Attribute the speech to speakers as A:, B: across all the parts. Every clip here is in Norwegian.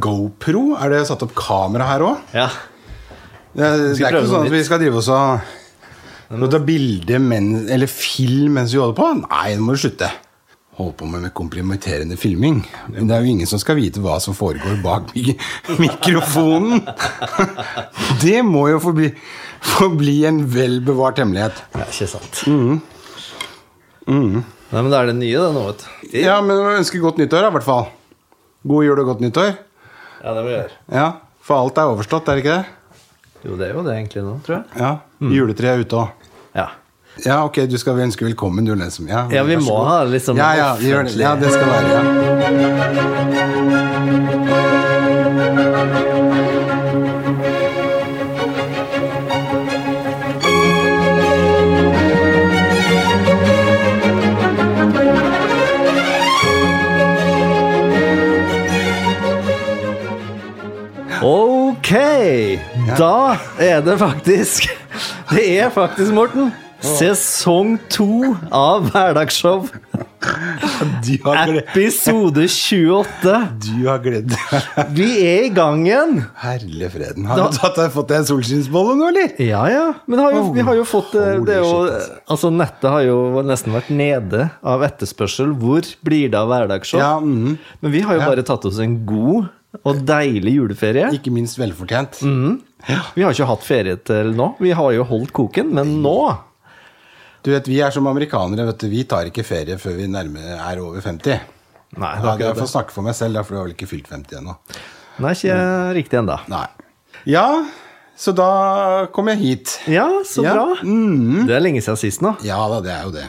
A: GoPro? Er det satt opp kamera her òg?
B: Ja.
A: Det, er- det er
B: prøve
A: ikke
B: noe
A: sånn at vi
B: nytt.
A: skal drive oss og og ta bilde men- eller film mens vi holder på. Nei, nå må du slutte. Holde på med, med komplimenterende filming. Men det er jo ingen som skal vite hva som foregår bak mi- mikrofonen. Det må jo forbli, forbli en vel bevart hemmelighet.
B: ja ikke sant. Nei, men det er det nye, det nå, vet du.
A: Ja, men vi ønsker godt nyttår, da, i hvert fall. God jul og godt nyttår.
B: Ja, det må vi gjøre.
A: Ja, For alt er overstått, er det ikke det?
B: Jo, det er jo det egentlig nå, tror jeg.
A: Ja, Juletreet er ute òg.
B: Ja.
A: Ja, ok, du skal ønske velkommen, du, liksom. Ja,
B: Ja, vi
A: vær så
B: må
A: god.
B: ha liksom
A: Ja, ja, vi gjør det. ja, det skal være ja.
B: Ok! Da er det faktisk Det er faktisk, Morten, sesong to av Hverdagsshow.
A: Du har gled-
B: Episode 28.
A: du har gledd deg.
B: Vi er i gang igjen.
A: Herlig freden. Har du tatt deg, fått deg en solskinnsbolle nå, eller?
B: Ja, ja. Men har jo, vi har jo fått eh,
A: Oh, Holy
B: det er jo,
A: shit,
B: eh, altså Nettet har jo nesten vært nede av etterspørsel. Hvor blir det av hverdagsshow?
A: Ja, mhm.
B: Men vi har jo bare tatt oss en god og deilig juleferie.
A: Ikke minst velfortjent.
B: Mm. Vi har ikke hatt ferie til nå. Vi har jo holdt koken, men nå
A: Du vet, Vi er som amerikanere. vet du, Vi tar ikke ferie før vi nærmere er over 50.
B: Nei, det
A: Ja,
B: er
A: jeg
B: akkurat
A: får
B: det.
A: snakke for meg selv, da, for du har vel ikke fylt 50 ennå.
B: Nei, ikke
A: Mm.
B: riktig ennå.
A: Nei. Ja, så da kom jeg hit.
B: Ja, så
A: Ja. Mm.
B: bra. Det er lenge siden sist nå.
A: Ja da, det er jo det.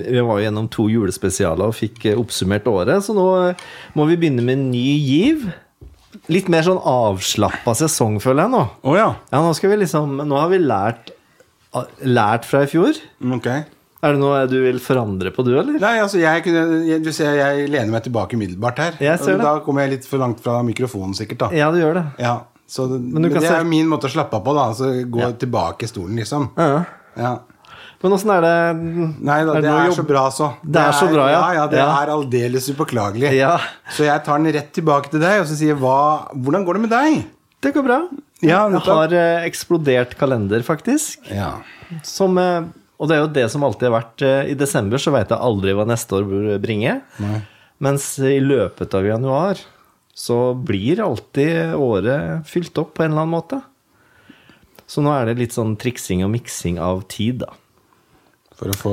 B: Vi var jo gjennom to julespesialer og fikk eh, oppsummert året, så nå eh, må vi begynne med en ny giv. Litt mer sånn avslappa sesong, føler jeg nå.
A: Å ja.
B: Ja, nå skal vi liksom Nå har vi lært Lært fra i fjor.
A: Ok.
B: Er det noe du vil forandre på, du, eller?
A: Nei, altså, jeg kunne, jeg, du ser jeg lener meg tilbake umiddelbart her.
B: Jeg ser
A: Og
B: det.
A: Da kommer jeg litt for langt fra mikrofonen, sikkert. da.
B: Ja, du gjør det.
A: Ja, så det,
B: du
A: men
B: kan
A: det
B: se-
A: er jo min måte å slappe av på, da. Altså, gå tilbake i stolen, liksom.
B: Ja.
A: Ja.
B: Men åssen er det
A: Nei da,
B: Er det
A: det
B: noe
A: er
B: jobb-
A: så bra, så.
B: er så bra, ja.
A: Ja, ja det
B: Ja.
A: er aldeles upåklagelig.
B: Ja.
A: Så jeg tar den rett tilbake til deg og så sier jeg, hva, hvordan går det med deg?
B: Det går bra.
A: Ja,
B: Jeg
A: nettopp.
B: har eh, eksplodert kalender, faktisk.
A: Ja.
B: Som eh, Og det er jo det som alltid har vært eh, I desember så veit jeg aldri hva neste år bør bringe. Mens i løpet av januar så blir alltid året fylt opp på en eller annen måte. Så nå er det litt sånn triksing og miksing av tid, da.
A: For å få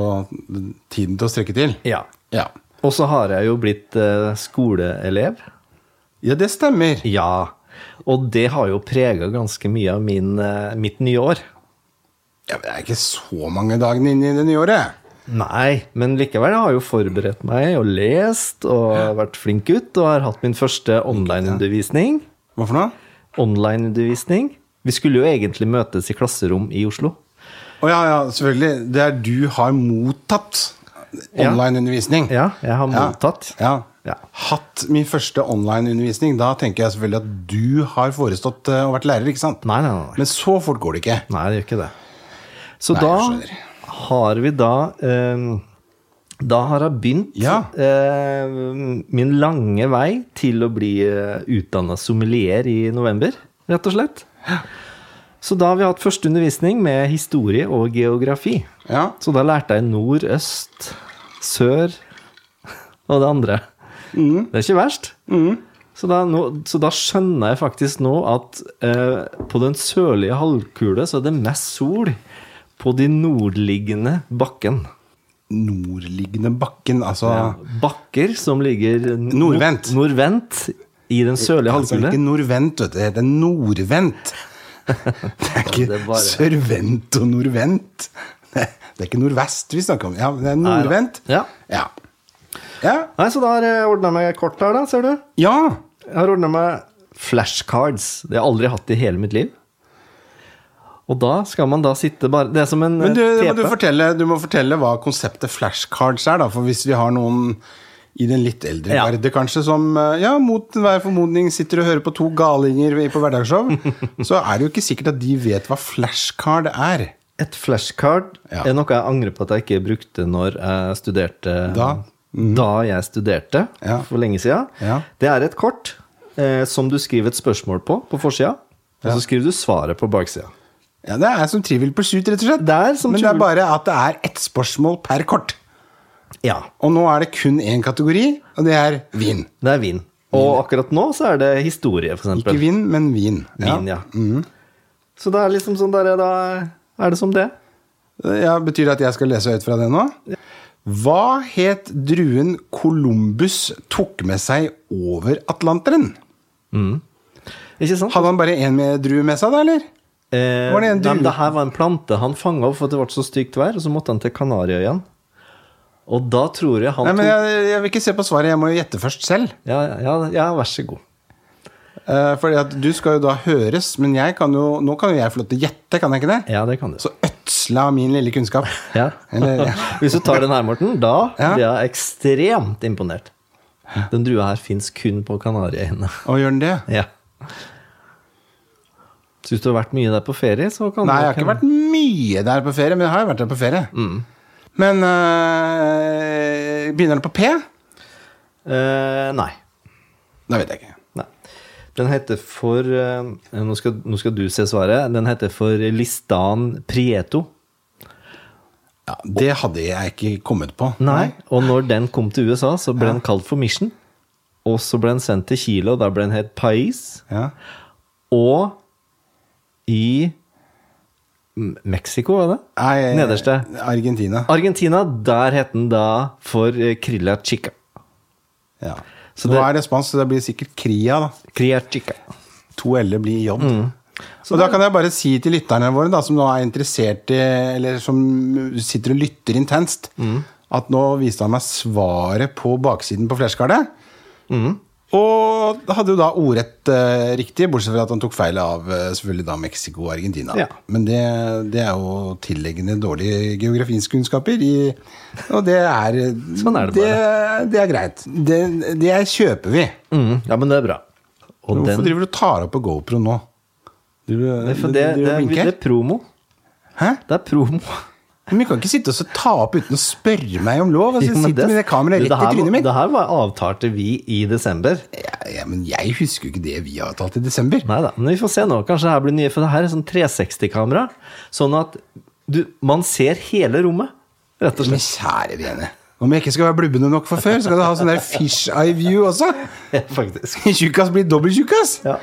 A: tiden til å strekke til?
B: Ja.
A: Ja.
B: Og så har jeg jo blitt eh, skoleelev.
A: Ja, det stemmer.
B: Ja. Og det har jo prega ganske mye av min, eh, mitt nye år.
A: Ja, men det er ikke så mange dagene inn i det nye året.
B: Nei, men likevel jeg har jo forberedt meg og lest og vært flink gutt og har hatt min første online-undervisning.
A: Hva for noe?
B: Online-undervisning. Vi skulle jo egentlig møtes i klasserom i Oslo.
A: Å ja, ja, selvfølgelig. Det er du har mottatt
B: Ja.
A: online-undervisning.
B: Ja, jeg har mottatt.
A: Ja.
B: Ja.
A: Hatt min første online-undervisning. Da tenker jeg selvfølgelig at du har forestått eh, og vært lærer, ikke sant?
B: Nei, nei, nei. nei.
A: Men så fort går det ikke.
B: Nei, det gjør ikke det. Så
A: Nei, jeg
B: da har vi da eh, Da har jeg begynt
A: Ja.
B: eh, min lange vei til å bli eh, utdanna sommelier i november, rett og slett. Så da har vi hatt første undervisning med historie og geografi.
A: Ja.
B: Så da lærte jeg nord, øst, sør og det andre.
A: Mm.
B: Det er ikke verst. Så, da, nå, så da skjønner jeg faktisk nå at eh, på den sørlige halvkule så er det mest sol på de nordliggende bakken.
A: Nordliggende bakken, altså
B: Bakker som ligger n-
A: Nordvendt.
B: nord- Nordvendt i den sørlige
A: Altså
B: halvkule.
A: ikke nordvendt, vet du. Det heter nordvendt. Det er ikke
B: det er bare-
A: sørvendt og nordvendt. Det det er ikke nordvest vi snakker om. Ja, men det er
B: Nei da.
A: nordvendt.
B: Ja.
A: Ja. ja.
B: Nei, så da har jeg ordna meg kort her, da, ser du.
A: ja.
B: Jeg har ordna meg flashcards. Det har jeg aldri hatt i hele mitt liv. Og da skal man da sitte bare Det er som en
A: Men du,
B: eh,
A: må du, fortelle, du må fortelle hva konseptet flashcards er, da. For hvis vi har noen i den litt eldre
B: Ja.
A: garde kanskje som eh, ja, mot hver formodning sitter og hører på to galinger på hverdagsshow, så er det jo ikke sikkert at de vet hva flashcard er.
B: Et flashcard
A: Ja.
B: er noe jeg angrer på at jeg ikke brukte når jeg studerte
A: Da? Mhm.
B: da jeg studerte
A: Ja.
B: for lenge siden.
A: Ja.
B: Det er et kort eh, som du skriver et spørsmål på på forsida, og så skriver du svaret på baksida.
A: Ja, det er som Trivial Pursuit, rett og slett.
B: Det er som
A: Men det er
B: Trivial-
A: bare at det er ett spørsmål per kort.
B: Ja,
A: Og nå er det kun én kategori, og det er vin.
B: det er vin. Og akkurat nå så er det historie, for
A: Ikke
B: eksempel.
A: vin, Mhm. men vin.
B: Vin, ja. Så det er liksom sånn der, da er det som det.
A: Ja, Betyr det at jeg skal lese høyt fra det nå? Hva het druen Columbus tok med seg over Atlanteren?
B: Ikke sant?
A: Hadde han bare én med drue med seg, da, eller?
B: Eh,
A: Var det en
B: nei, men
A: drue?
B: det her var en plante han fanga opp for at det ble så stygt vær, og så måtte han til Kanariøyene. Og da tror jeg han
A: Nei, men
B: tok
A: jeg, jeg vil ikke se på svaret, jeg må jo gjette først selv.
B: ja, ja, ja, vær så god.
A: Eh, fordi at du skal jo da høres, men jeg kan jo, nå kan jo jeg få lov til å gjette, kan jeg ikke det?
B: Ja, det kan du.
A: Så ødsla av min lille kunnskap.
B: Ja.
A: Eller, ja.
B: Hvis du tar den her, Morten, da
A: Ja.
B: blir jeg ekstremt imponert. Den drua her fins kun på Kanariøyene.
A: Og gjør den det?
B: Ja. Så hvis du har vært mye der på ferie, så kan
A: Nei,
B: du
A: jeg har ikke vært mye der på ferie, men jeg har jo vært der på ferie. Men øh, begynner det på P?
B: Eh, nei.
A: Det vet jeg ikke.
B: nei. Den heter for eh, nå, skal, nå skal du se svaret. Den heter for Listan Prieto.
A: Ja, det hadde jeg ikke kommet på.
B: Nei. Og når den kom til USA, så ble den kalt for Mission. Og så ble den sendt til Chile, og da ble den het Pais.
A: Ja.
B: Og i M- Mexico, var det?
A: Nei,
B: Nederste. Ah.
A: Argentina.
B: Argentina, der het den da for eh, Krilla Chica.
A: Ja.
B: Så
A: Nå
B: det-
A: er det spansk, så det blir sikkert Kria, da.
B: Cria Chica.
A: To L-er blir J.
B: Mm.
A: Og da kan jeg bare si til lytterne våre, da, som nå er interessert i Eller som sitter og lytter intenst,
B: Mm.
A: at nå viste han meg svaret på baksiden på flashcardet.
B: Mm.
A: Og hadde jo da ordrett eh, riktig, bortsett fra at han tok feil av eh, selvfølgelig da Mexico og Argentina.
B: Ja.
A: Men det, det er jo tilleggende dårlige geografinskunnskaper, i, og det er
B: Sånn er det
A: det, det er greit. Det, det kjøper vi.
B: Mm, ja, men det er bra. Og
A: Hvorfor
B: den,
A: driver du og tar opp på GoPro nå? Du,
B: det, er for det, det, er- det er promo.
A: Hæ?
B: Det er promo.
A: Men vi kan ikke sitte og så ta opp uten å spørre meg om lov. Altså,
B: Jo,
A: jeg
B: men
A: sitter med det kameraet
B: du,
A: rett i
B: her,
A: trynet mitt.
B: Det her var avtalte vi i desember.
A: Ja, ja, men jeg husker jo ikke det vi avtalte i desember.
B: Nei da, men vi får se nå. Kanskje det her blir nye. For det her er sånn 360-kamera. Sånn at du, man ser hele rommet, rett og slett.
A: Men kjære vene, om jeg ikke skal være blubbende nok for før, så skal du ha sånn der fish eye view også.
B: Ja, faktisk.
A: Tjukkas blir dobbelt tjukkas.
B: Ja.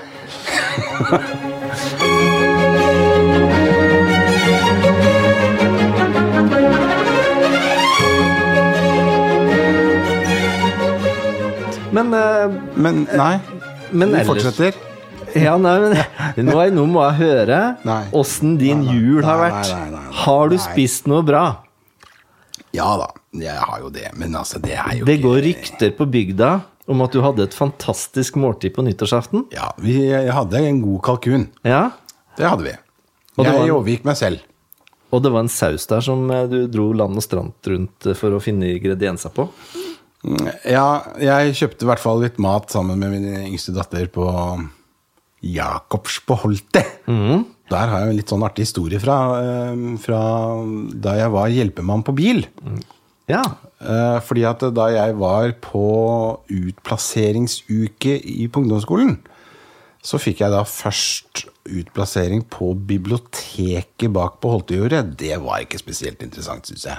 B: Men, eh,
A: Men nei,
B: men
A: vi
B: ellers
A: fortsetter.
B: Ja, nei, men nå, er- nå må jeg høre
A: Nei.
B: åssen din
A: Nei, nei.
B: jul har
A: Nei,
B: vært.
A: nei, nei, nei, nei.
B: Har du
A: Nei.
B: spist noe bra?
A: Ja da, jeg har jo det, men altså, det er jo
B: Det
A: ikke
B: går rykter på bygda om at du hadde et fantastisk måltid på nyttårsaften.
A: Ja, vi hadde en god kalkun.
B: Ja,
A: Det hadde vi.
B: Og det var en-
A: Jeg overgikk meg selv.
B: Og det var en saus der som eh, du dro land og strand rundt eh, for å finne ingredienser på.
A: Ja, jeg kjøpte i hvert fall litt mat sammen med min yngste datter på Jacobs på Holte. Der har jeg en litt sånn artig historie fra, eh, fra da jeg var hjelpemann på bil.
B: Ja.
A: Eh, Fordi at da jeg var på utplasseringsuke i på ungdomsskolen, så fikk jeg da først utplassering på biblioteket bak på Holtejordet. Det var ikke spesielt interessant, syns jeg.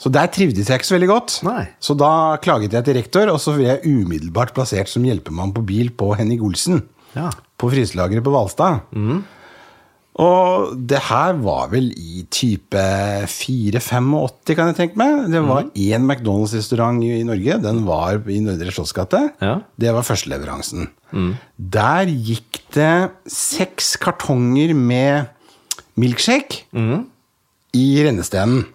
A: Så der trivdes jeg ikke så veldig godt.
B: Nei.
A: Så da klaget jeg til rektor, og så ble jeg umiddelbart plassert som hjelpemann på bil på Henning Olsen.
B: Ja.
A: På fryselageret på Hvalstad. Og det her var vel i type 4-85, kan jeg tenke meg. Det var én McDonald's-restaurant i i Norge. Den var i Nordre Slottsgate.
B: Ja.
A: Det var førsteleveransen. Der gikk det seks kartonger med milkshake i rennestenen.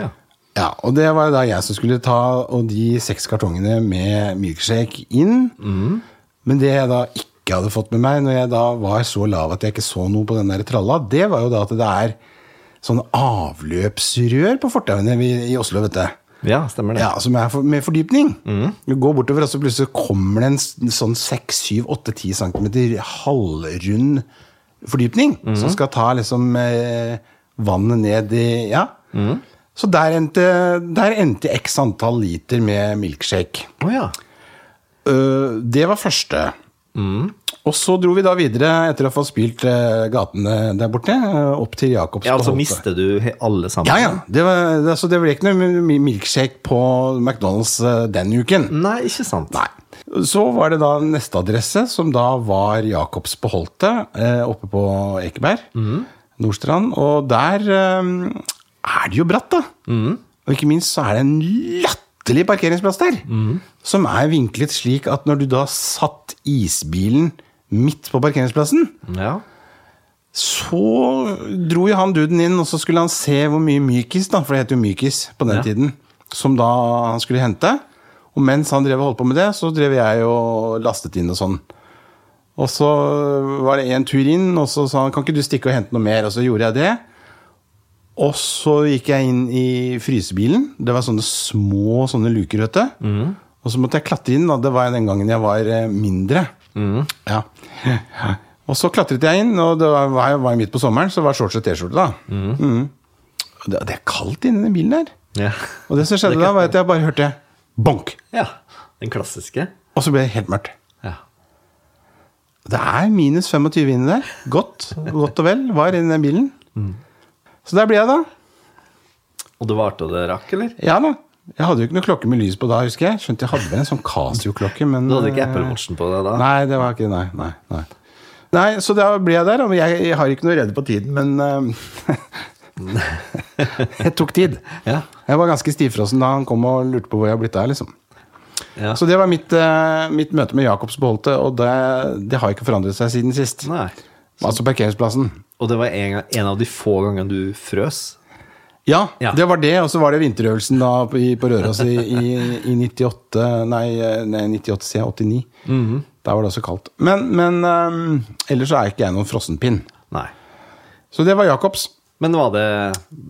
B: ja.
A: Ja, og det var jo da jeg som skulle ta og de seks kartongene med milkshake inn. Men det jeg da ikke hadde fått med meg når jeg da var så lav at jeg ikke så noe på den der tralla, det var jo da at det er sånne avløpsrør på fortauene vi- i Oslo, vet du.
B: Ja, Mm. stemmer det.
A: Ja, som er for, med fordypning. Du går bortover, og så plutselig kommer det en s- sånn 6-7-8-10 cm halvrund fordypning,
B: Mm.
A: som skal ta liksom eh, vannet ned i Ja.
B: Mm.
A: Så der endte, der endte x antall liter med milkshake.
B: Å ja.
A: Øh, det var første.
B: Mm.
A: Og så dro vi da videre, etter å få spilt eh, gatene der borte, eh, opp til Jakobs
B: Ja, altså
A: Holte.
B: mister du he- alle sammen?
A: Ja, ja. Det, var, det- altså, det ble ikke noe mi- milkshake på McDonald's eh, den uken.
B: Nei, ikke sant.
A: Nei. Så var det da neste adresse, som da var Jacobs på Holte, eh, oppe på Ekeberg. Nordstrand. Og der eh, er det jo bratt, da. Og ikke minst så er det en latterlig parkeringsplass der. Som er vinklet slik at når du da satt isbilen midt på parkeringsplassen,
B: Ja.
A: så dro jo han duden inn, og så skulle han se hvor mye mykis, da, for det heter jo mykis på den
B: Ja.
A: tiden, som da han skulle hente. Og mens han drev og holdt på med det, så drev jeg og lastet inn og sånn. Og så var det en tur inn, og så sa han kan ikke du stikke og hente noe mer? Og så gjorde jeg det. Og så gikk jeg inn i frysebilen. Det var sånne små sånne luker, vet du. Og så måtte jeg klatre inn. Da. Det var den gangen jeg var eh, mindre. Ja. Og så klatret jeg inn, og det var, var var midt på sommeren, så var shorts og T-skjorte, da. Mhm. Og Det, det er kaldt inni den bilen der.
B: ja.
A: Og det som skjedde da, var at jeg bare hørte bonk,
B: Ja. Den klassiske.
A: og så ble det helt mørkt.
B: Ja.
A: Det er minus 25 inni der. Godt, godt og vel var inni den bilen. Så der ble jeg, da.
B: Og det varte og det rakk, eller?
A: Ja da. Jeg hadde jo ikke noe klokke med lys på da, husker jeg. Skjønt jeg hadde vel en sånn Casio-klokke, men
B: Du hadde ikke
A: eh,
B: Apple Watchen på deg da?
A: Nei, det var ikke Nei, nei. nei. nei så da ble jeg der, og jeg, jeg har ikke noe rede på tiden, men eh, Det tok tid.
B: Ja.
A: Jeg var ganske stivfrossen da han kom og lurte på hvor jeg hadde blitt av. Liksom.
B: Ja.
A: Så det var mitt, eh, mitt møte med Jacobs Beholte, og det, det har ikke forandret seg siden sist.
B: Nei.
A: Altså parkeringsplassen.
B: Og det var en, gang- en av de få gangene du frøs?
A: Ja,
B: Ja.
A: det var det, og så var det vinterøvelsen da på, i, på Røros i, i, i 98 Nei, nei 98, sier jeg. 89.
B: Mhm.
A: Der var det også kaldt. Men, men ehm, ellers så er ikke jeg noen frossenpinn.
B: Nei.
A: Så det var Jacobs.
B: Men var det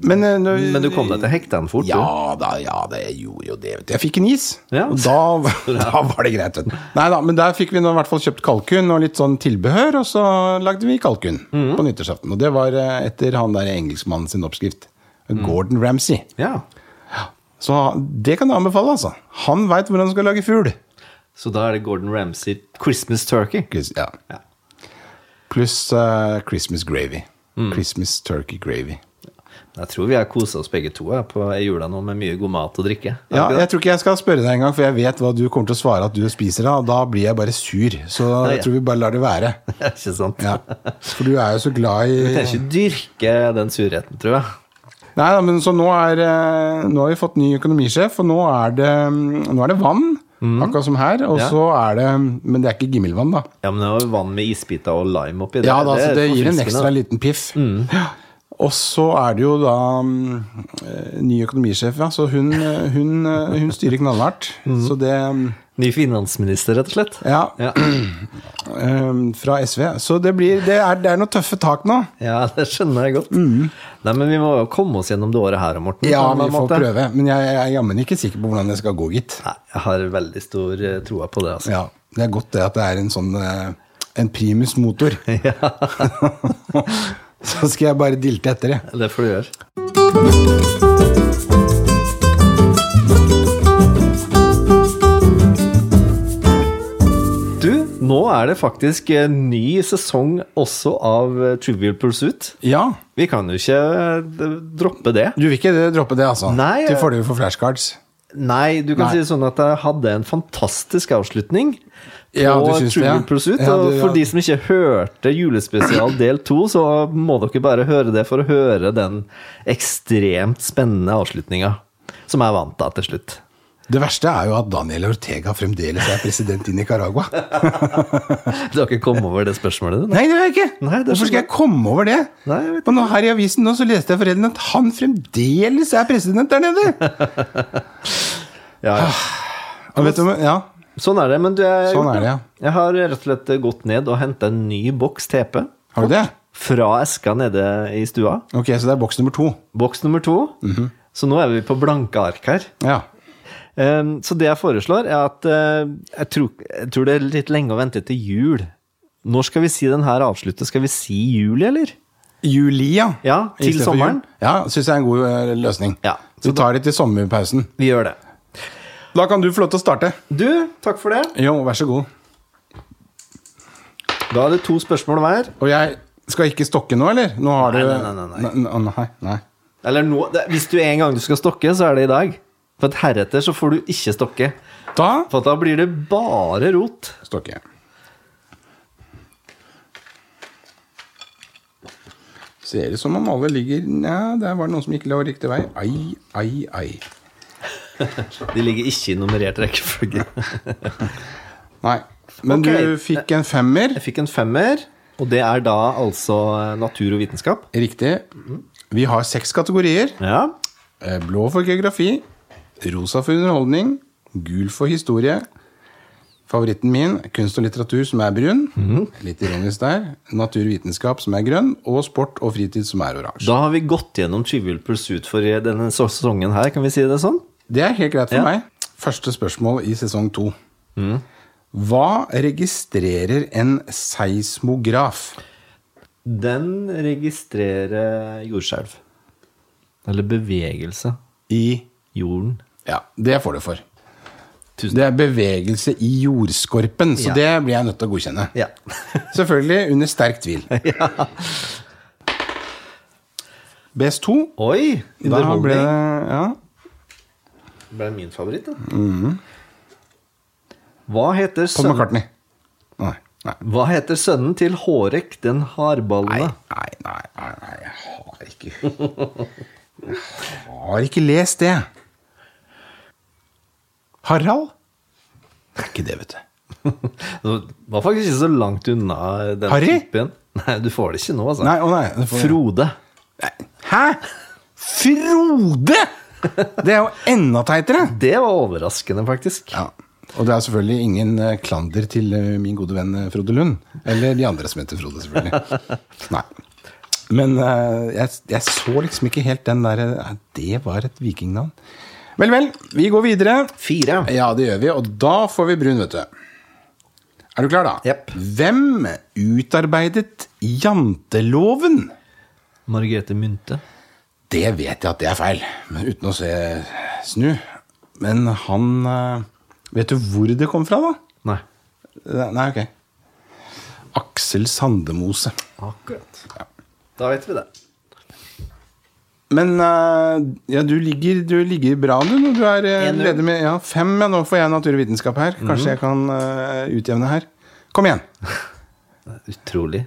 A: Men, eh, nå-
B: Men du kom deg til hekten fort,
A: Ja da, ja da, jeg gjorde jo det. Vet du. Jeg fikk en is,
B: Ja.
A: og da, da var det greit. Vet du. Nei da, men der fikk vi nå i hvert fall kjøpt kalkun og litt sånn tilbehør, og så lagde vi kalkun
B: Mhm.
A: på nyttårsaften. Og det var eh, etter han der engelskmannen sin oppskrift.
B: Mhm.
A: Gordon Ramsay.
B: du. Ja.
A: Så det kan jeg anbefale, altså. Han veit hvordan han skal lage fugl.
B: Så da er det Gordon Ramsay Christmas turkey.
A: Chris- Ja.
B: Ja.
A: Pluss eh, Christmas gravy.
B: Mm.
A: Christmas turkey gravy.
B: Jeg tror vi har kosa oss begge to ja, på i jula nå med mye god mat og drikke. Er det
A: Ja,
B: ikke det?
A: jeg tror ikke jeg skal spørre deg engang, for jeg vet hva du kommer til å svare at du spiser av. og Da blir jeg bare sur. Så
B: Nei,
A: jeg tror vi bare lar det være.
B: ikke sant?
A: Ja. For du er jo så glad
B: Jeg
A: i
B: kan ikke dyrke den surheten, tror jeg.
A: Nei da, men så nå er eh, Nå har vi fått ny økonomisjef, og nå er det, mm, nå er det vann. Akkurat som her. Og
B: Mm. Ja.
A: så er det mm, Men det er ikke gimmelvann, da.
B: Ja, men det var jo vann med isbiter og lime oppi
A: Ja, da, Mm. så det gir en
B: forfriskende.
A: ekstra liten piff. Ja. Og så er det jo da mm, eh, ny økonomisjef, ja. Så hun, eh, hun, eh, hun styrer knallhardt. Så det mm,
B: Ny finansminister, rett og slett.
A: Ja.
B: Ja,
A: eh, Fra SV. Så det, blir, det, er, det er noen tøffe tak nå.
B: Ja, det skjønner jeg godt. Nei, men vi må jo komme oss gjennom det året her, Morten.
A: Mm. Ja,
B: på en
A: vi får
B: måte.
A: prøve. Men jeg, jeg er jammen ikke sikker på hvordan det skal gå, gitt.
B: Nei, jeg har veldig stor eh, troa på det, altså.
A: Ja, Det er godt det at det er en sånn eh, en primusmotor. Så skal jeg bare dilte etter, jeg.
B: Det får du gjøre. Du, nå er det faktisk eh, ny sesong også av eh, Trivial Pursuit.
A: Ja.
B: Vi kan jo ikke eh, d- droppe det.
A: Du vil ikke droppe det, altså?
B: Nei,
A: Til
B: eh,
A: fordel for flashcards?
B: Nei, du kan
A: Nei.
B: si det sånn at jeg hadde en fantastisk avslutning på
A: Ja, du syns det,
B: Trivial
A: ja.
B: Pursuit.
A: Ja,
B: og
A: du-
B: for
A: ja.
B: de som ikke hørte julespesial del to, så må dere bare høre det for å høre den ekstremt spennende avslutninga som jeg vant da til slutt.
A: Det verste er jo at Daniel Ortega fremdeles er president i Nicaragua.
B: Du har ikke kommet over det spørsmålet? du,
A: Nei, det er jeg ikke!
B: Nei, det er
A: Hvorfor
B: så
A: skal jeg komme over det?
B: Nei, jeg vet
A: Og nå her i avisen nå så leste jeg forleden at han fremdeles er president der nede!
B: Nei? Ja, ja.
A: Og vet du, hva- ja,
B: Sånn er det. Men du, jeg, har
A: Sånn
B: gjort
A: er det, ja.
B: Jeg har rett og slett gått ned og henta en ny boks TP
A: Har du det?
B: fra eska nede i stua.
A: Ok, så det er boks nummer to.
B: Boks nummer to.
A: Mhm.
B: Så nå er vi på blanke ark her.
A: Ja.
B: Ehm, så det jeg foreslår, er at eh, jeg, tror, jeg tror det er litt lenge å vente til jul. Når skal vi si den her avsluttet? Skal vi si juli, eller?
A: Julia.
B: Ja,
A: I
B: til
A: stedet for
B: sommeren.
A: jul. Ja, syns jeg er en god eh, løsning.
B: Ja.
A: Vi tar det til sommerpausen.
B: Vi gjør det.
A: Da kan du få lov til å starte.
B: Du, takk for det.
A: Jo, vær så god.
B: Da er det to spørsmål hver.
A: Og jeg skal ikke stokke nå, eller? Nå har
B: Nei,
A: du
B: nei, nei, nei, nei.
A: N- n- nei, nei.
B: Eller nå, det, hvis du en gang du skal stokke, så er det i dag. For at heretter så får du ikke stokke.
A: Da
B: For at da blir det bare rot.
A: stokker jeg. Ser ut som om alle ligger Nja, der var det noen som ikke lå riktig vei. Ai, ai, ai.
B: De ligger ikke i nummerert rekkefølge.
A: Nei. Men
B: Ok.
A: du fikk en femmer.
B: Jeg fikk en femmer, og det er da altså eh, natur og vitenskap.
A: Riktig. Vi har seks kategorier.
B: Ja.
A: Eh, Blå for geografi, rosa for underholdning, gul for historie. Favoritten min kunst og litteratur, som er brun. Litt ironisk der. Naturvitenskap, som er grønn. Og sport og fritid, som er oransje.
B: Da har vi gått gjennom Trivial Pursuit for denne sesongen her, kan vi si det sånn?
A: Det er helt greit for
B: Ja.
A: meg. Første spørsmål i sesong to. Hva registrerer en seismograf?
B: Den registrerer jordskjelv. Eller bevegelse.
A: I
B: Jorden.
A: Ja, det får du for.
B: Tusen
A: Det er bevegelse i jordskorpen, så
B: Ja.
A: det blir jeg nødt til å godkjenne.
B: Ja.
A: Selvfølgelig under sterk tvil. BS2.
B: Oi!
A: Da ble
B: Underholdning.
A: det ja.
B: Det ble min favoritt, da.
A: Mhm.
B: Hva, heter
A: Paul
B: sønnen,
A: McCartney. Nei, nei.
B: hva heter sønnen til Hårek den hardballende?
A: Nei, nei, nei, nei, nei, jeg har ikke Jeg har ikke lest det. Harald? Det er ikke det, vet du.
B: Det var faktisk ikke så langt unna den
A: Harry?
B: typen. Nei, du får det ikke nå, altså.
A: Nei, å nei. det får jeg-
B: Frode.
A: Nei. Hæ? Frode! Det er jo enda teitere!
B: Det var overraskende, faktisk.
A: Ja. Og det er selvfølgelig ingen eh, klander til eh, min gode venn eh, Frode Lund. Eller de andre som heter Frode, selvfølgelig. Nei. Men eh, jeg, jeg så liksom ikke helt den derre eh, Det var et vikingnavn. Vel, vel. Vi går videre.
B: Fire.
A: Ja, det gjør vi. Og da får vi brun, vet du. Er du klar, da?
B: Jepp.
A: Hvem utarbeidet janteloven?
B: Margrethe Mynte.
A: Det vet jeg at det er feil, men uten å se snu. Men han eh, Vet du hvor det kom fra, da?
B: Nei.
A: Nei, ok. Aksel Sandemose.
B: Akkurat. Da vet vi det.
A: Men eh, ja, du, ligger, du ligger bra du, når du er eh,
B: En null.
A: leder med ja, fem. Ja, nå får jeg naturvitenskap her. Kanskje jeg kan eh, utjevne her. Kom igjen!
B: Utrolig.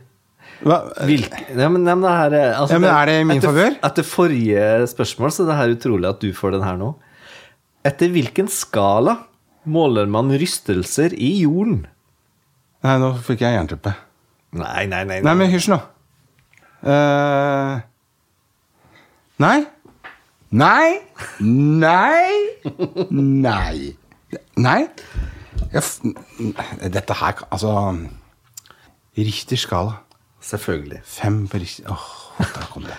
A: Hva?
B: Hvilke ja, men, nei, men det her, er- altså,
A: Ja, men er det i min
B: etter,
A: favør?
B: Etter forrige spørsmål så er det her utrolig at du får den her nå. Etter hvilken skala måler man rystelser i jorden?
A: Nei, nå fikk jeg jernteppe.
B: Nei, nei, nei.
A: Nei, men hysj nå. Eh, nei. Nei. Nei. Nei. Nei. Jeg, f- dette her kan- Altså Richter skala.
B: Selvfølgelig.
A: Fem på Richter Åh, der kom det.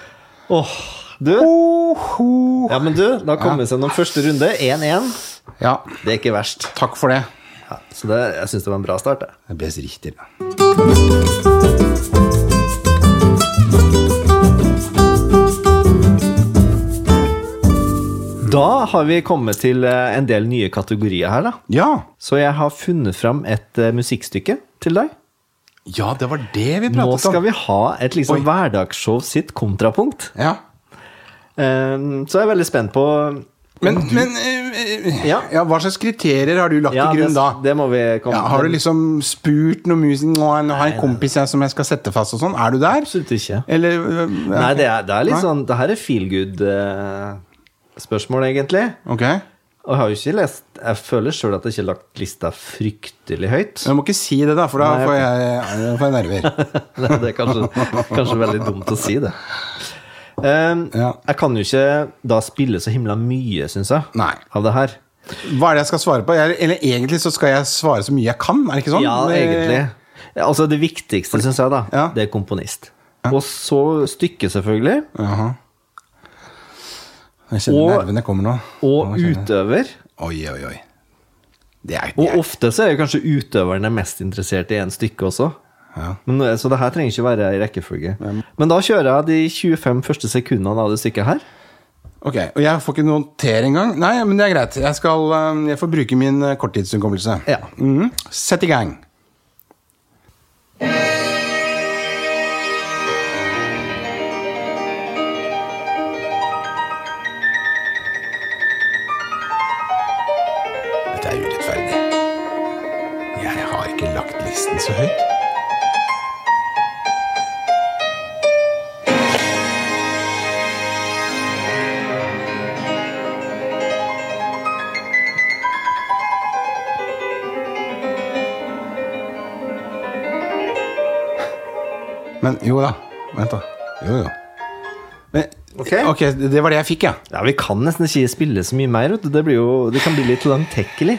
B: Åh, du.
A: Oh. Oho.
B: Ja, men du, da kom vi oss gjennom første runde. 1-1.
A: Ja,
B: Det er ikke verst.
A: takk for det.
B: Ja, så det, jeg syns det var en bra start. Jeg.
A: Det er best Richter. da.
B: Da har vi kommet til eh, en del nye kategorier her, da.
A: Ja.
B: Så jeg har funnet fram et eh, musikkstykke til deg.
A: ja, det var det vi pratet om.
B: Nå skal vi ha et
A: Oi.
B: liksom hverdagsshow sitt kontrapunkt.
A: Ja.
B: Ehm, Så er jeg veldig spent på
A: Men, men eh, eh,
B: Ja.
A: ja, hva slags kriterier har du lagt
B: Ja,
A: til grunn
B: det,
A: da?
B: det må vi komme
A: Ja, har du liksom spurt noe musen Nå har jeg- nå har jeg en kompis jeg som jeg skal sette fast og sånn. Er du der?
B: Absolutt ikke.
A: Eller øh,
B: Nei, det er, det er litt
A: Nei.
B: sånn Det her er feel good-spørsmål, egentlig.
A: Ok. Men
B: Og jeg har jo ikke lest Jeg føler sjøl at jeg ikke har lagt lista fryktelig høyt.
A: Du må ikke si det, da, for da
B: Nei,
A: får jeg, da får jeg nerver.
B: Det det er kanskje, kanskje veldig dumt å si det. Ehm,
A: Ja.
B: Jeg kan jo ikke da spille så himla mye, syns jeg,
A: Nei.
B: av det her.
A: Hva er det jeg skal svare på? Jeg, eller egentlig så skal jeg svare så mye jeg kan, er det ikke sånn?
B: Ja,
A: Det-
B: egentlig. Altså Det viktigste, syns jeg, da,
A: Ja.
B: det er komponist. Og så stykket, selvfølgelig.
A: Jaha. Jeg kjenner
B: Og-
A: nervene kommer nå.
B: Og
A: Nå kjenner jeg-
B: utøver.
A: Oi, oi, oi. Det er, det
B: Og
A: er
B: ofte så er jo kanskje utøverne mest interessert i en stykke også.
A: Ja.
B: Men, eh, så det her trenger ikke være i rekkefølge. Men da kjører jeg de 25 første sekundene av det stykket her.
A: Ok, og jeg får ikke notere engang? Nei, men det er greit. Jeg, skal, øh, jeg får bruke min øh, korttidshukommelse.
B: Ja.
A: Mhm. Sett i gang.
C: Thank
A: Jeg har ikke lagt listen så høyt. Men jo da. Vent, da. Jo, jo. Men,
B: Ok.
A: ok, det var det jeg fikk, ja.
B: Ja, Vi kan nesten ikke spille så mye mer. vet du. Det, blir jo, det kan bli litt langtekkelig.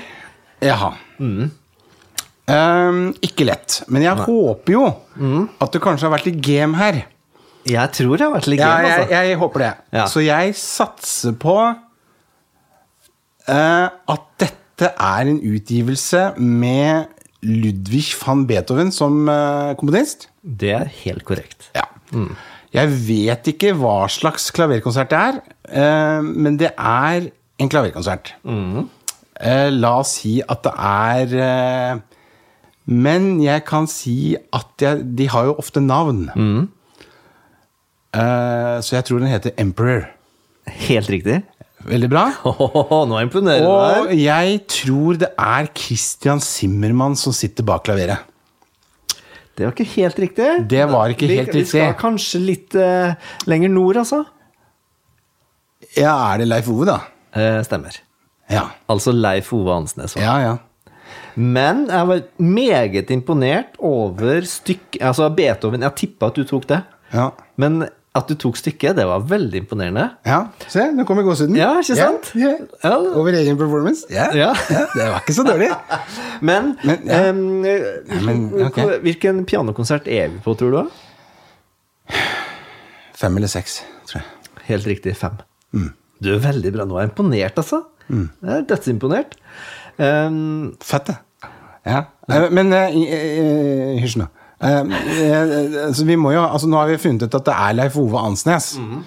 A: Jaha. Ehm, ikke lett. Men jeg håper jo at du kanskje har vært i game her.
B: Jeg tror jeg har vært litt
A: Ja,
B: game,
A: jeg,
B: altså.
A: jeg håper det.
B: Ja.
A: Så jeg satser på eh, at dette er en utgivelse med Ludvig van Beethoven som eh, komponist.
B: Det er helt korrekt.
A: Ja. Jeg vet ikke hva slags klaverkonsert det er, eh, men det er en klaverkonsert. Eh, la oss si at det er eh, Men jeg kan si at jeg, de har jo ofte navn. Eh, så jeg tror den heter Emperor.
B: Helt riktig.
A: Veldig bra.
B: Åhåhå, nå imponerer du
A: Og
B: meg.
A: jeg tror det er Christian Zimmermann som sitter bak klaveret.
B: Det var ikke helt riktig.
A: Det var ikke
B: Vi-
A: helt
B: Vi skal
A: riktig.
B: kanskje litt eh, lenger nord, altså.
A: Ja, er det Leif Ove, da?
B: Eh, stemmer.
A: Ja.
B: Altså Leif Ove Ansnes.
A: Ja, ja.
B: Men jeg var meget imponert over stykk... Altså Beethoven, jeg tippa at du tok det.
A: ja.
B: Men at du tok stykket, det var veldig imponerende.
A: Ja, se, nå kommer gåsehuden.
B: Ja, ikke sant?
A: Ja, ja.
B: Ja.
A: Over egen performance. Ja.
B: Ja.
A: ja, Det var ikke så dårlig.
B: Men,
A: Men, ja.
B: em,
A: men, ok.
B: hvilken pianokonsert er vi på, tror du?
A: Fem eller seks, tror jeg.
B: Helt riktig, fem.
A: Mm.
B: Du er veldig bra. Nå er jeg imponert, altså. Jeg er dødsimponert. Em,
A: Fett, det. Ja. Eh, Men eh, i- eh, eh, hysj nå. Eh, eh, altså, vi må jo, altså, nå har vi funnet ut at det er Leif Ove Ansnes.
B: Mhm.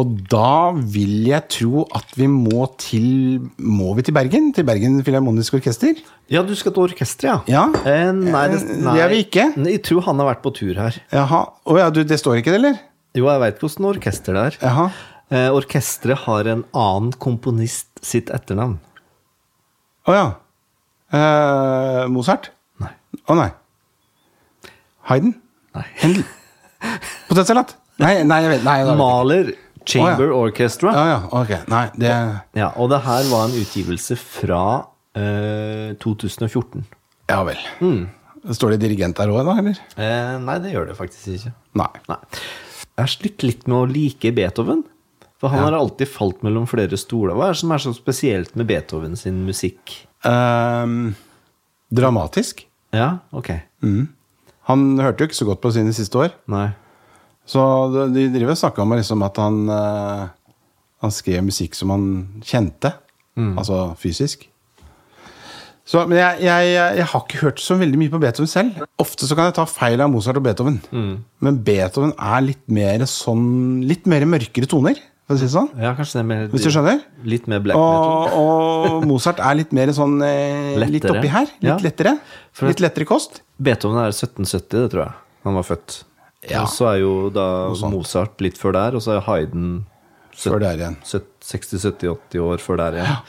A: Og da vil jeg tro at vi må til Må vi til Bergen? Til Bergen Filharmoniske Orkester?
B: ja, du skal til orkesteret,
A: Ja.
B: Eh, nei, det,
A: Eh,
B: nei.
A: det er vi ikke.
B: Jeg tror han har vært på tur her.
A: Jaha. Å ja, du, det står ikke det, eller?
B: Jo, jeg veit hvordan orkester det er.
A: Jaha.
B: Eh, orkesteret har en annen komponist sitt etternavn.
A: Å ja. Eh, Mozart?
B: Nei.
A: Å nei. Hayden?
B: Nei.
A: Händel? Potetsalat? Nei, nei, jeg vet nei, da vet jeg ikke.
B: Maler Chamber Orchestra.
A: Ja, ja, ok. Nei, det
B: Ja, og det her var en utgivelse fra eh, 2014.
A: Ja vel. Står det dirigent der òg, da, eller?
B: Eh, nei, det gjør det faktisk ikke.
A: Nei.
B: Nei. Jeg har slitt litt med å like Beethoven. For han har alltid falt mellom flere stoler. Hva er det som er så spesielt med Beethoven sin musikk?
A: Ehm, dramatisk.
B: Ja, ok.
A: Han hørte jo ikke så godt på sine siste år,
B: Nei.
A: så de de driver og snakker om liksom at han eh, Han skrev musikk som han kjente,
B: Mm.
A: altså fysisk. Så, men jeg, jeg, jeg har ikke hørt så veldig mye på Beethoven selv. Ofte så kan jeg ta feil av Mozart og Beethoven,
B: Mm.
A: men Beethoven er litt mer sånn Litt mer mørkere toner, for å si det sånn.
B: Ja, kanskje det er mer
A: Hvis du skjønner?
B: Litt mer black metal.
A: Og, og Mozart er litt mer sånn eh, Litt
B: Lettere.
A: oppi her. Litt
B: Ja.
A: lettere.
B: For-
A: litt lettere kost.
B: Beethoven er 1770, det tror jeg. Han var født.
A: Ja.
B: Og så er jo da Mozart litt før der, og så er Hayden
A: Før det er igjen.
B: 60-70-80 år før der igjen.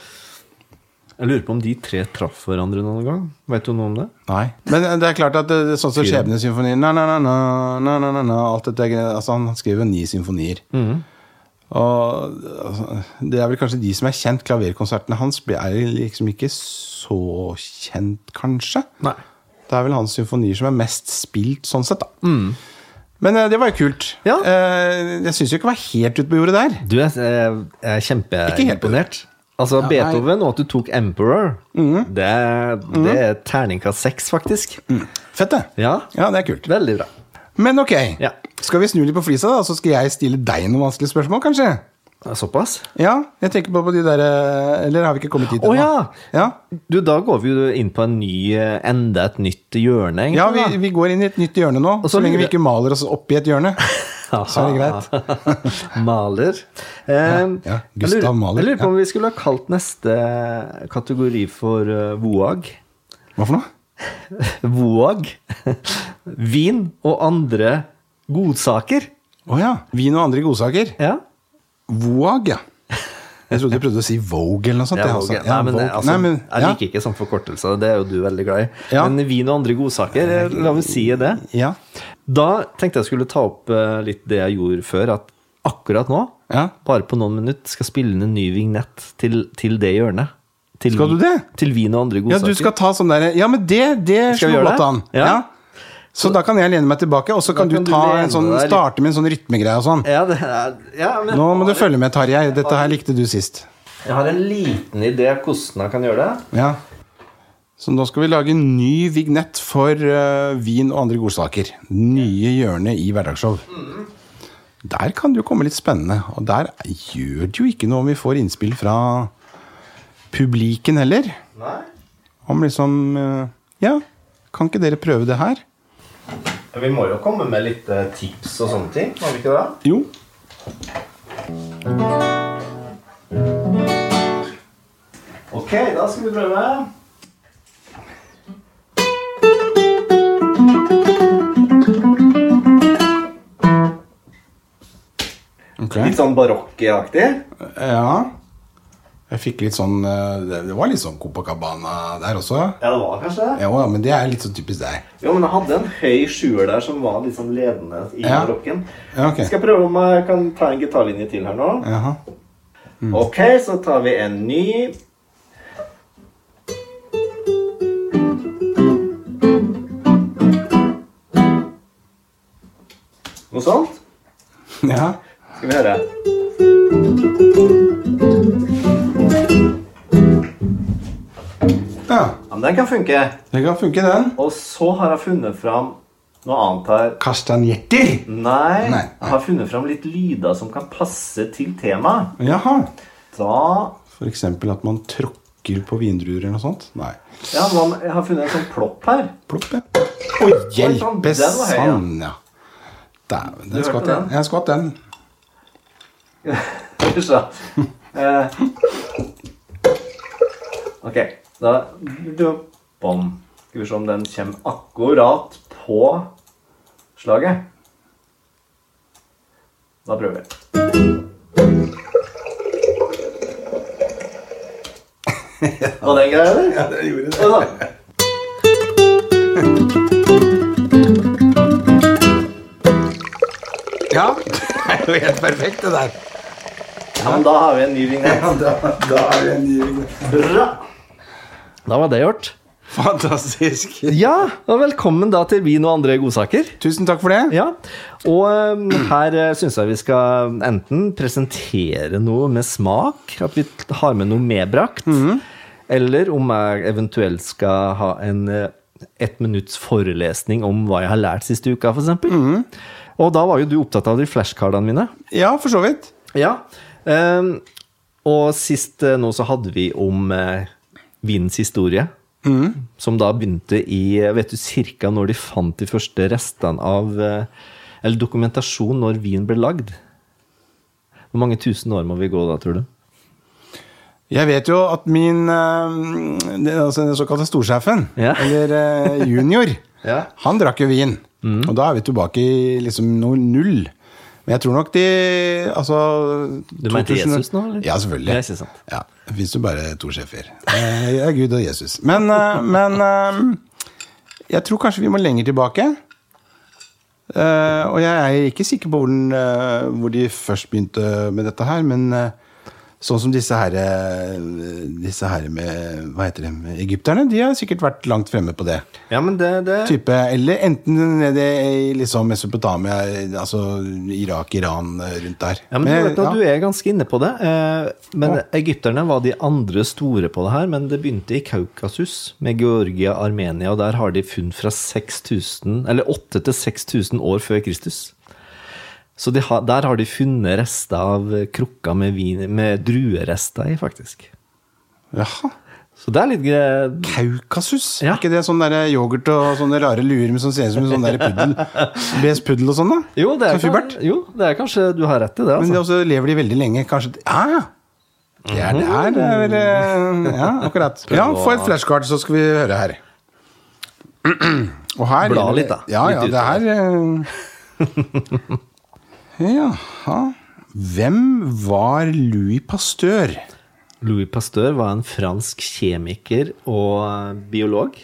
B: Jeg lurer på om de tre traff hverandre noen gang. Vet du noe om det?
A: Nei. Men det er klart at det, det er sånn som
B: Fire.
A: Skjebnesymfonien na, na, na, na, na, na, na, na, Alt dette greiene. Altså, han skriver jo ni symfonier.
B: Mhm.
A: Og altså, det er vel kanskje de som er kjent. Klaverkonsertene hans er liksom ikke så kjent, kanskje.
B: Nei.
A: Det er vel hans symfonier som er mest spilt, sånn sett, da. Men eh, det var jo kult.
B: Mhm. Ja.
A: Eh, jeg syns jo ikke jeg var helt ute på jordet der.
B: Du jeg- jeg er
A: Ikke helt
B: kjempeimponert. Altså
A: Ja, Mm.
B: Beethoven og at du tok Emperor, det, er- det er terningkast seks, faktisk.
A: Fett, det.
B: Ja.
A: det er kult.
B: Veldig bra.
A: Men ok,
B: Ja.
A: skal vi snu litt på flisa, da? Så skal jeg stille deg noen vanskelige spørsmål, kanskje?
B: Såpass? Ja.
A: Ja, jeg tenker på, på de der eh, Eller har vi ikke kommet hit
B: Å,
A: ennå?
B: ja.
A: ja.
B: Du, da går vi jo inn på en ny, eh, enda et nytt hjørne, egentlig.
A: ja,
B: da.
A: vi, vi går inn i et nytt hjørne nå.
B: Og
A: Så
B: så
A: lenge vi
B: lurer-
A: ikke maler oss opp i et hjørne. Så er det greit.
B: Maler. Eh,
A: ja, Gustav
B: jeg lurer-
A: Mahler,
B: Jeg lurer på
A: ja.
B: om vi skulle ha kalt neste kategori for eh, voag.
A: Hva for noe?
B: Voag. Vin og andre godsaker.
A: Å ja. Vin og andre godsaker.
B: Ja.
A: Voag, ja. Jeg trodde du prøvde å si Vogue eller noe sånt.
B: Ja,
A: jeg
B: Vogue.
A: også.
B: Nei, men, det-
A: Vogue.
B: altså,
A: Nei, men-
B: jeg
A: ja.
B: liker ikke sånn forkortelse, det er jo du veldig glad i.
A: Ja.
B: Men vin og andre godsaker, eh, la oss si det.
A: Ja.
B: Da tenkte jeg skulle ta opp eh, litt det jeg gjorde før, at akkurat nå,
A: Ja.
B: bare på noen minutter, skal spille inn en ny vignett til, til det hjørnet. Til,
A: Skal du det?
B: Til vin og andre
A: ja,
B: godsaker.
A: du skal ta sånn derre Ja, men det, det
B: Skal vi
A: slår
B: gjøre
A: godt
B: det?
A: an.
B: Ja.
A: Så da kan jeg lene meg tilbake, og så kan,
B: kan
A: du
B: du
A: ta
B: lene
A: en sånn,
B: deg litt.
A: starte med en sånn rytmegreie og sånn.
B: ja, det er, ja, men
A: Nå må du følge med, Tarjei. Dette her likte du sist.
B: Jeg har en liten idé hvordan jeg kan gjøre det.
A: Ja. Så nå skal vi lage en ny vignett for eh, vin og andre godsaker. Nye hjørne i hverdagsshow. Der kan det jo komme litt spennende. Og der gjør det jo ikke noe om vi får innspill fra publiken heller.
B: Nei.
A: Om liksom eh, Ja, kan ikke dere prøve det her?
B: Vi må jo komme med litt eh, tips og sånne ting, må vi ikke det?
A: Jo.
B: Ok, da skal vi prøve.
A: Ok.
B: Litt sånn barokkeaktig.
A: Ja. Jeg fikk litt sånn eh, Det det var litt sånn Copacabana der også.
B: Ja, det var kanskje det.
A: Ja, men det er litt sånn typisk deg.
B: Jo, men jeg hadde en høy sjuer der som var litt sånn ledende i
A: Ja.
B: barokken.
A: Ja, ok.
B: Skal jeg prøve om jeg kan ta en gitarlinje til her nå?
A: Jaha. Mm.
B: Ok, så tar vi en ny. Noe sånt?
A: Ja.
B: Skal vi høre.
A: ja.
B: Ja, men den kan funke.
A: Det kan funke, den.
B: Og så har jeg funnet fram noe annet her.
A: Kastanjetter!
B: Nei,
A: Nei.
B: jeg har funnet fram litt lyder som kan passe til temaet.
A: Jaha.
B: Da
A: For eksempel at man tråkker på vindruer eller noe sånt? Nei.
B: Ja, hva med- jeg har funnet en sånn plopp her.
A: Plopp, ja. Å, hjelpe
B: Den var høy, ja.
A: sann, ja. Dæven,
B: hørte
A: jeg skvatt den.
B: den?
A: Jeg skvatt den.
B: Skal vi se. Eh, Ok, da du- bom. Skal vi se om den kommer akkurat på slaget. Da prøver vi. Var den grei, eller?
A: Ja, det gjorde
B: Ja da.
A: Ja, det er jo helt perfekt, det der.
B: Ja, men da har vi en ny vignett.
A: da, er det en ny
B: Bra! Da var det gjort.
A: Fantastisk.
B: Ja, og velkommen da til vin og andre godsaker.
A: Tusen takk for det.
B: Ja, og øhm, her øh, syns jeg vi skal enten presentere noe med smak, at vi t- har med noe medbrakt, eller om jeg eventuelt skal ha en øh, ett minutts forelesning om hva jeg har lært siste uka, f.eks. eksempel Og da var jo du opptatt av de flashcardene mine.
A: Ja, for så vidt.
B: Ja. ehm, og sist eh, nå så hadde vi om eh, vindens historie. Som da begynte i eh, Vet du cirka når de fant de første restene av eh, Eller dokumentasjon når vin ble lagd? Hvor mange tusen år må vi gå da, tror du?
A: Jeg vet jo at min eh, det- altså den såkalte storsjefen,
B: Ja.
A: eller eh, junior,
B: Ja. Mm.
A: han drakk jo vin. Og da er vi tilbake i liksom noe null. Men jeg tror nok de Altså
B: Du mente Jesus nå, eller?
A: Ja, selvfølgelig.
B: Ja, ikke sant.
A: Ja, Det fins jo bare to sjefer. Eh, Ja, Gud og Jesus. Men, eh, men eh, jeg tror kanskje vi må lenger tilbake. Eh, og jeg er ikke sikker på hvor, den, eh, hvor de først begynte med dette her, men eh, sånn som disse her, eh, disse her med Hva heter de? Egypterne? De har sikkert vært langt fremme på det.
B: Ja, men det, det
A: Type, eller enten nede i liksom Mesopotamia, altså Irak, Iran, eh, rundt der.
B: ja, men du, vet, da,
A: ja.
B: du er ganske inne på det. eh, Men Egypterne var de andre store på det her. Men det begynte i Kaukasus, med Georgia, Armenia. Og der har de funn fra 6000, eller 8 til 6000 år før Kristus. Så de har, der har de funnet rester av eh, krukker med, vin, med druerester i, faktisk.
A: Jaha.
B: Så det er litt gre-
A: Kaukasus?
B: Ja.
A: Er ikke det sånn der yoghurt og sånne rare luer med som ser ut som en sånn der puddel? BS puddel og sånn, da?
B: jo det, er,
A: Som Fubert?
B: kan- jo, det er kanskje Du har rett i det,
A: Men
B: altså.
A: det også lever de veldig lenge, kanskje Ja, ja. Det er det
B: Mhm.
A: her. Det er, vel, eh, ja, akkurat. Ja, få et flashcard, så skal vi høre her. Og her
B: Bla litt, da.
A: Ja, ja,
B: Litt
A: det her eh, Jaha. Hvem var Louis Pasteur?
B: Louis Pasteur var en fransk kjemiker og eh, biolog.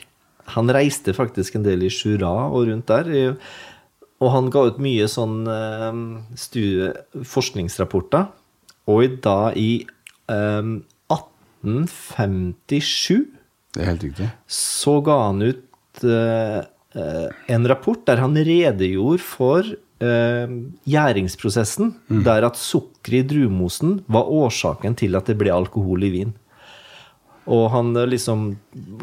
B: Han reiste faktisk en del i Jura og rundt der. i- Og han ga ut mye sånn eh, studie, forskningsrapporter. Og i- da i eh, 1857
A: Det er helt riktig.
B: så ga han ut eh, eh, en rapport der han redegjorde for eh, gjæringsprosessen, der at sukkeret i druemosen var årsaken til at det ble alkohol i vin. Og han eh, liksom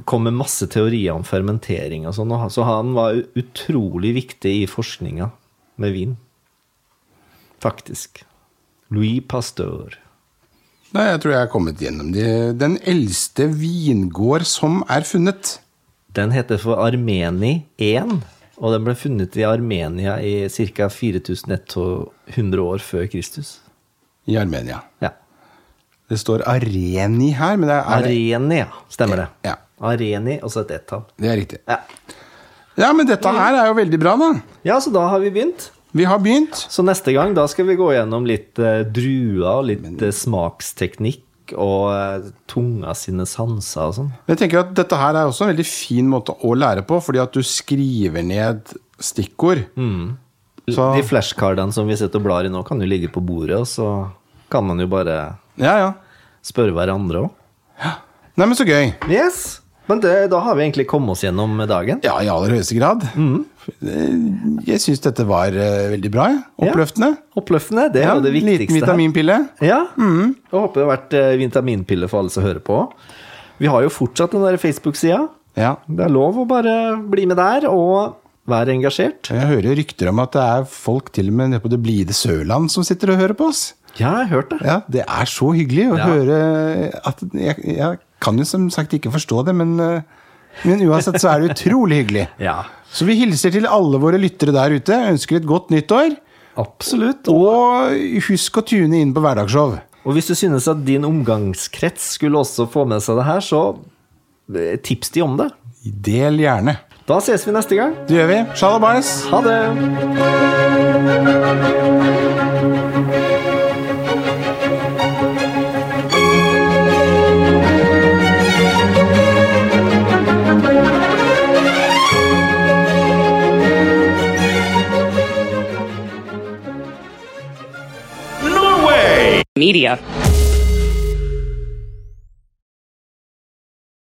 B: kom med masse teorier om fermentering og sånn, og han- så han var u- utrolig viktig i forskninga med vin. Faktisk. Louis Pasteur.
A: Nei, jeg tror jeg er kommet gjennom de. Den eldste vingård som er funnet.
B: Den heter for Armeni 1, og den ble funnet i Armenia i ca. 4100 år før Kristus.
A: I Armenia.
B: Ja.
A: Det står Areni her, men det er
B: Arenia, stemmer det.
A: Ja.
B: Areni, og så et ett-tall.
A: Det er riktig.
B: Ja.
A: Ja, men dette her er jo veldig bra, da.
B: ja, så da har vi begynt.
A: Vi har begynt.
B: Så neste gang da skal vi gå gjennom litt eh, druer, litt eh, smaksteknikk og eh, tunga sine sanser og sånn.
A: Men jeg tenker at dette her er også en veldig fin måte å lære på, fordi at du skriver ned stikkord.
B: Mm.
A: Så
B: De flashcardene som vi sitter og blar i nå, kan jo ligge på bordet, og så kan man jo bare
A: Ja, ja.
B: spørre hverandre òg.
A: Nei, men så gøy.
B: Yes. Men det, da har vi egentlig kommet oss gjennom dagen.
A: Ja, i aller høyeste grad.
B: Mm.
A: Eh, Jeg syns dette var eh, veldig bra. jeg.
B: Ja.
A: Oppløftende.
B: Oppløftende. Det er jo det viktigste.
A: Liten vitaminpille.
B: Her. Ja. Og håper det har vært eh, vitaminpille for alle som hører på. Vi har jo fortsatt den der Facebook-sida.
A: Ja.
B: Det er lov å bare bli med der og være engasjert.
A: Jeg hører rykter om at det er folk til og med nede på det blide Sørland som sitter og hører på oss.
B: Ja, jeg har hørt det.
A: Ja, Det er så hyggelig å
B: Ja.
A: høre at jeg, jeg kan jo som sagt ikke forstå det, men, eh, men uansett så er det utrolig hyggelig.
B: Ja.
A: Så vi hilser til alle våre lyttere der ute. Ønsker et godt nytt år.
B: Absolutt. Og,
A: Og husk å tune inn på Hverdagsshow.
B: og hvis du synes at din omgangskrets skulle også få med seg det her, så eh, tips de om det.
A: Del gjerne.
B: Da ses vi neste gang.
A: Det gjør vi. Shalabais!
B: Ha det.
C: media.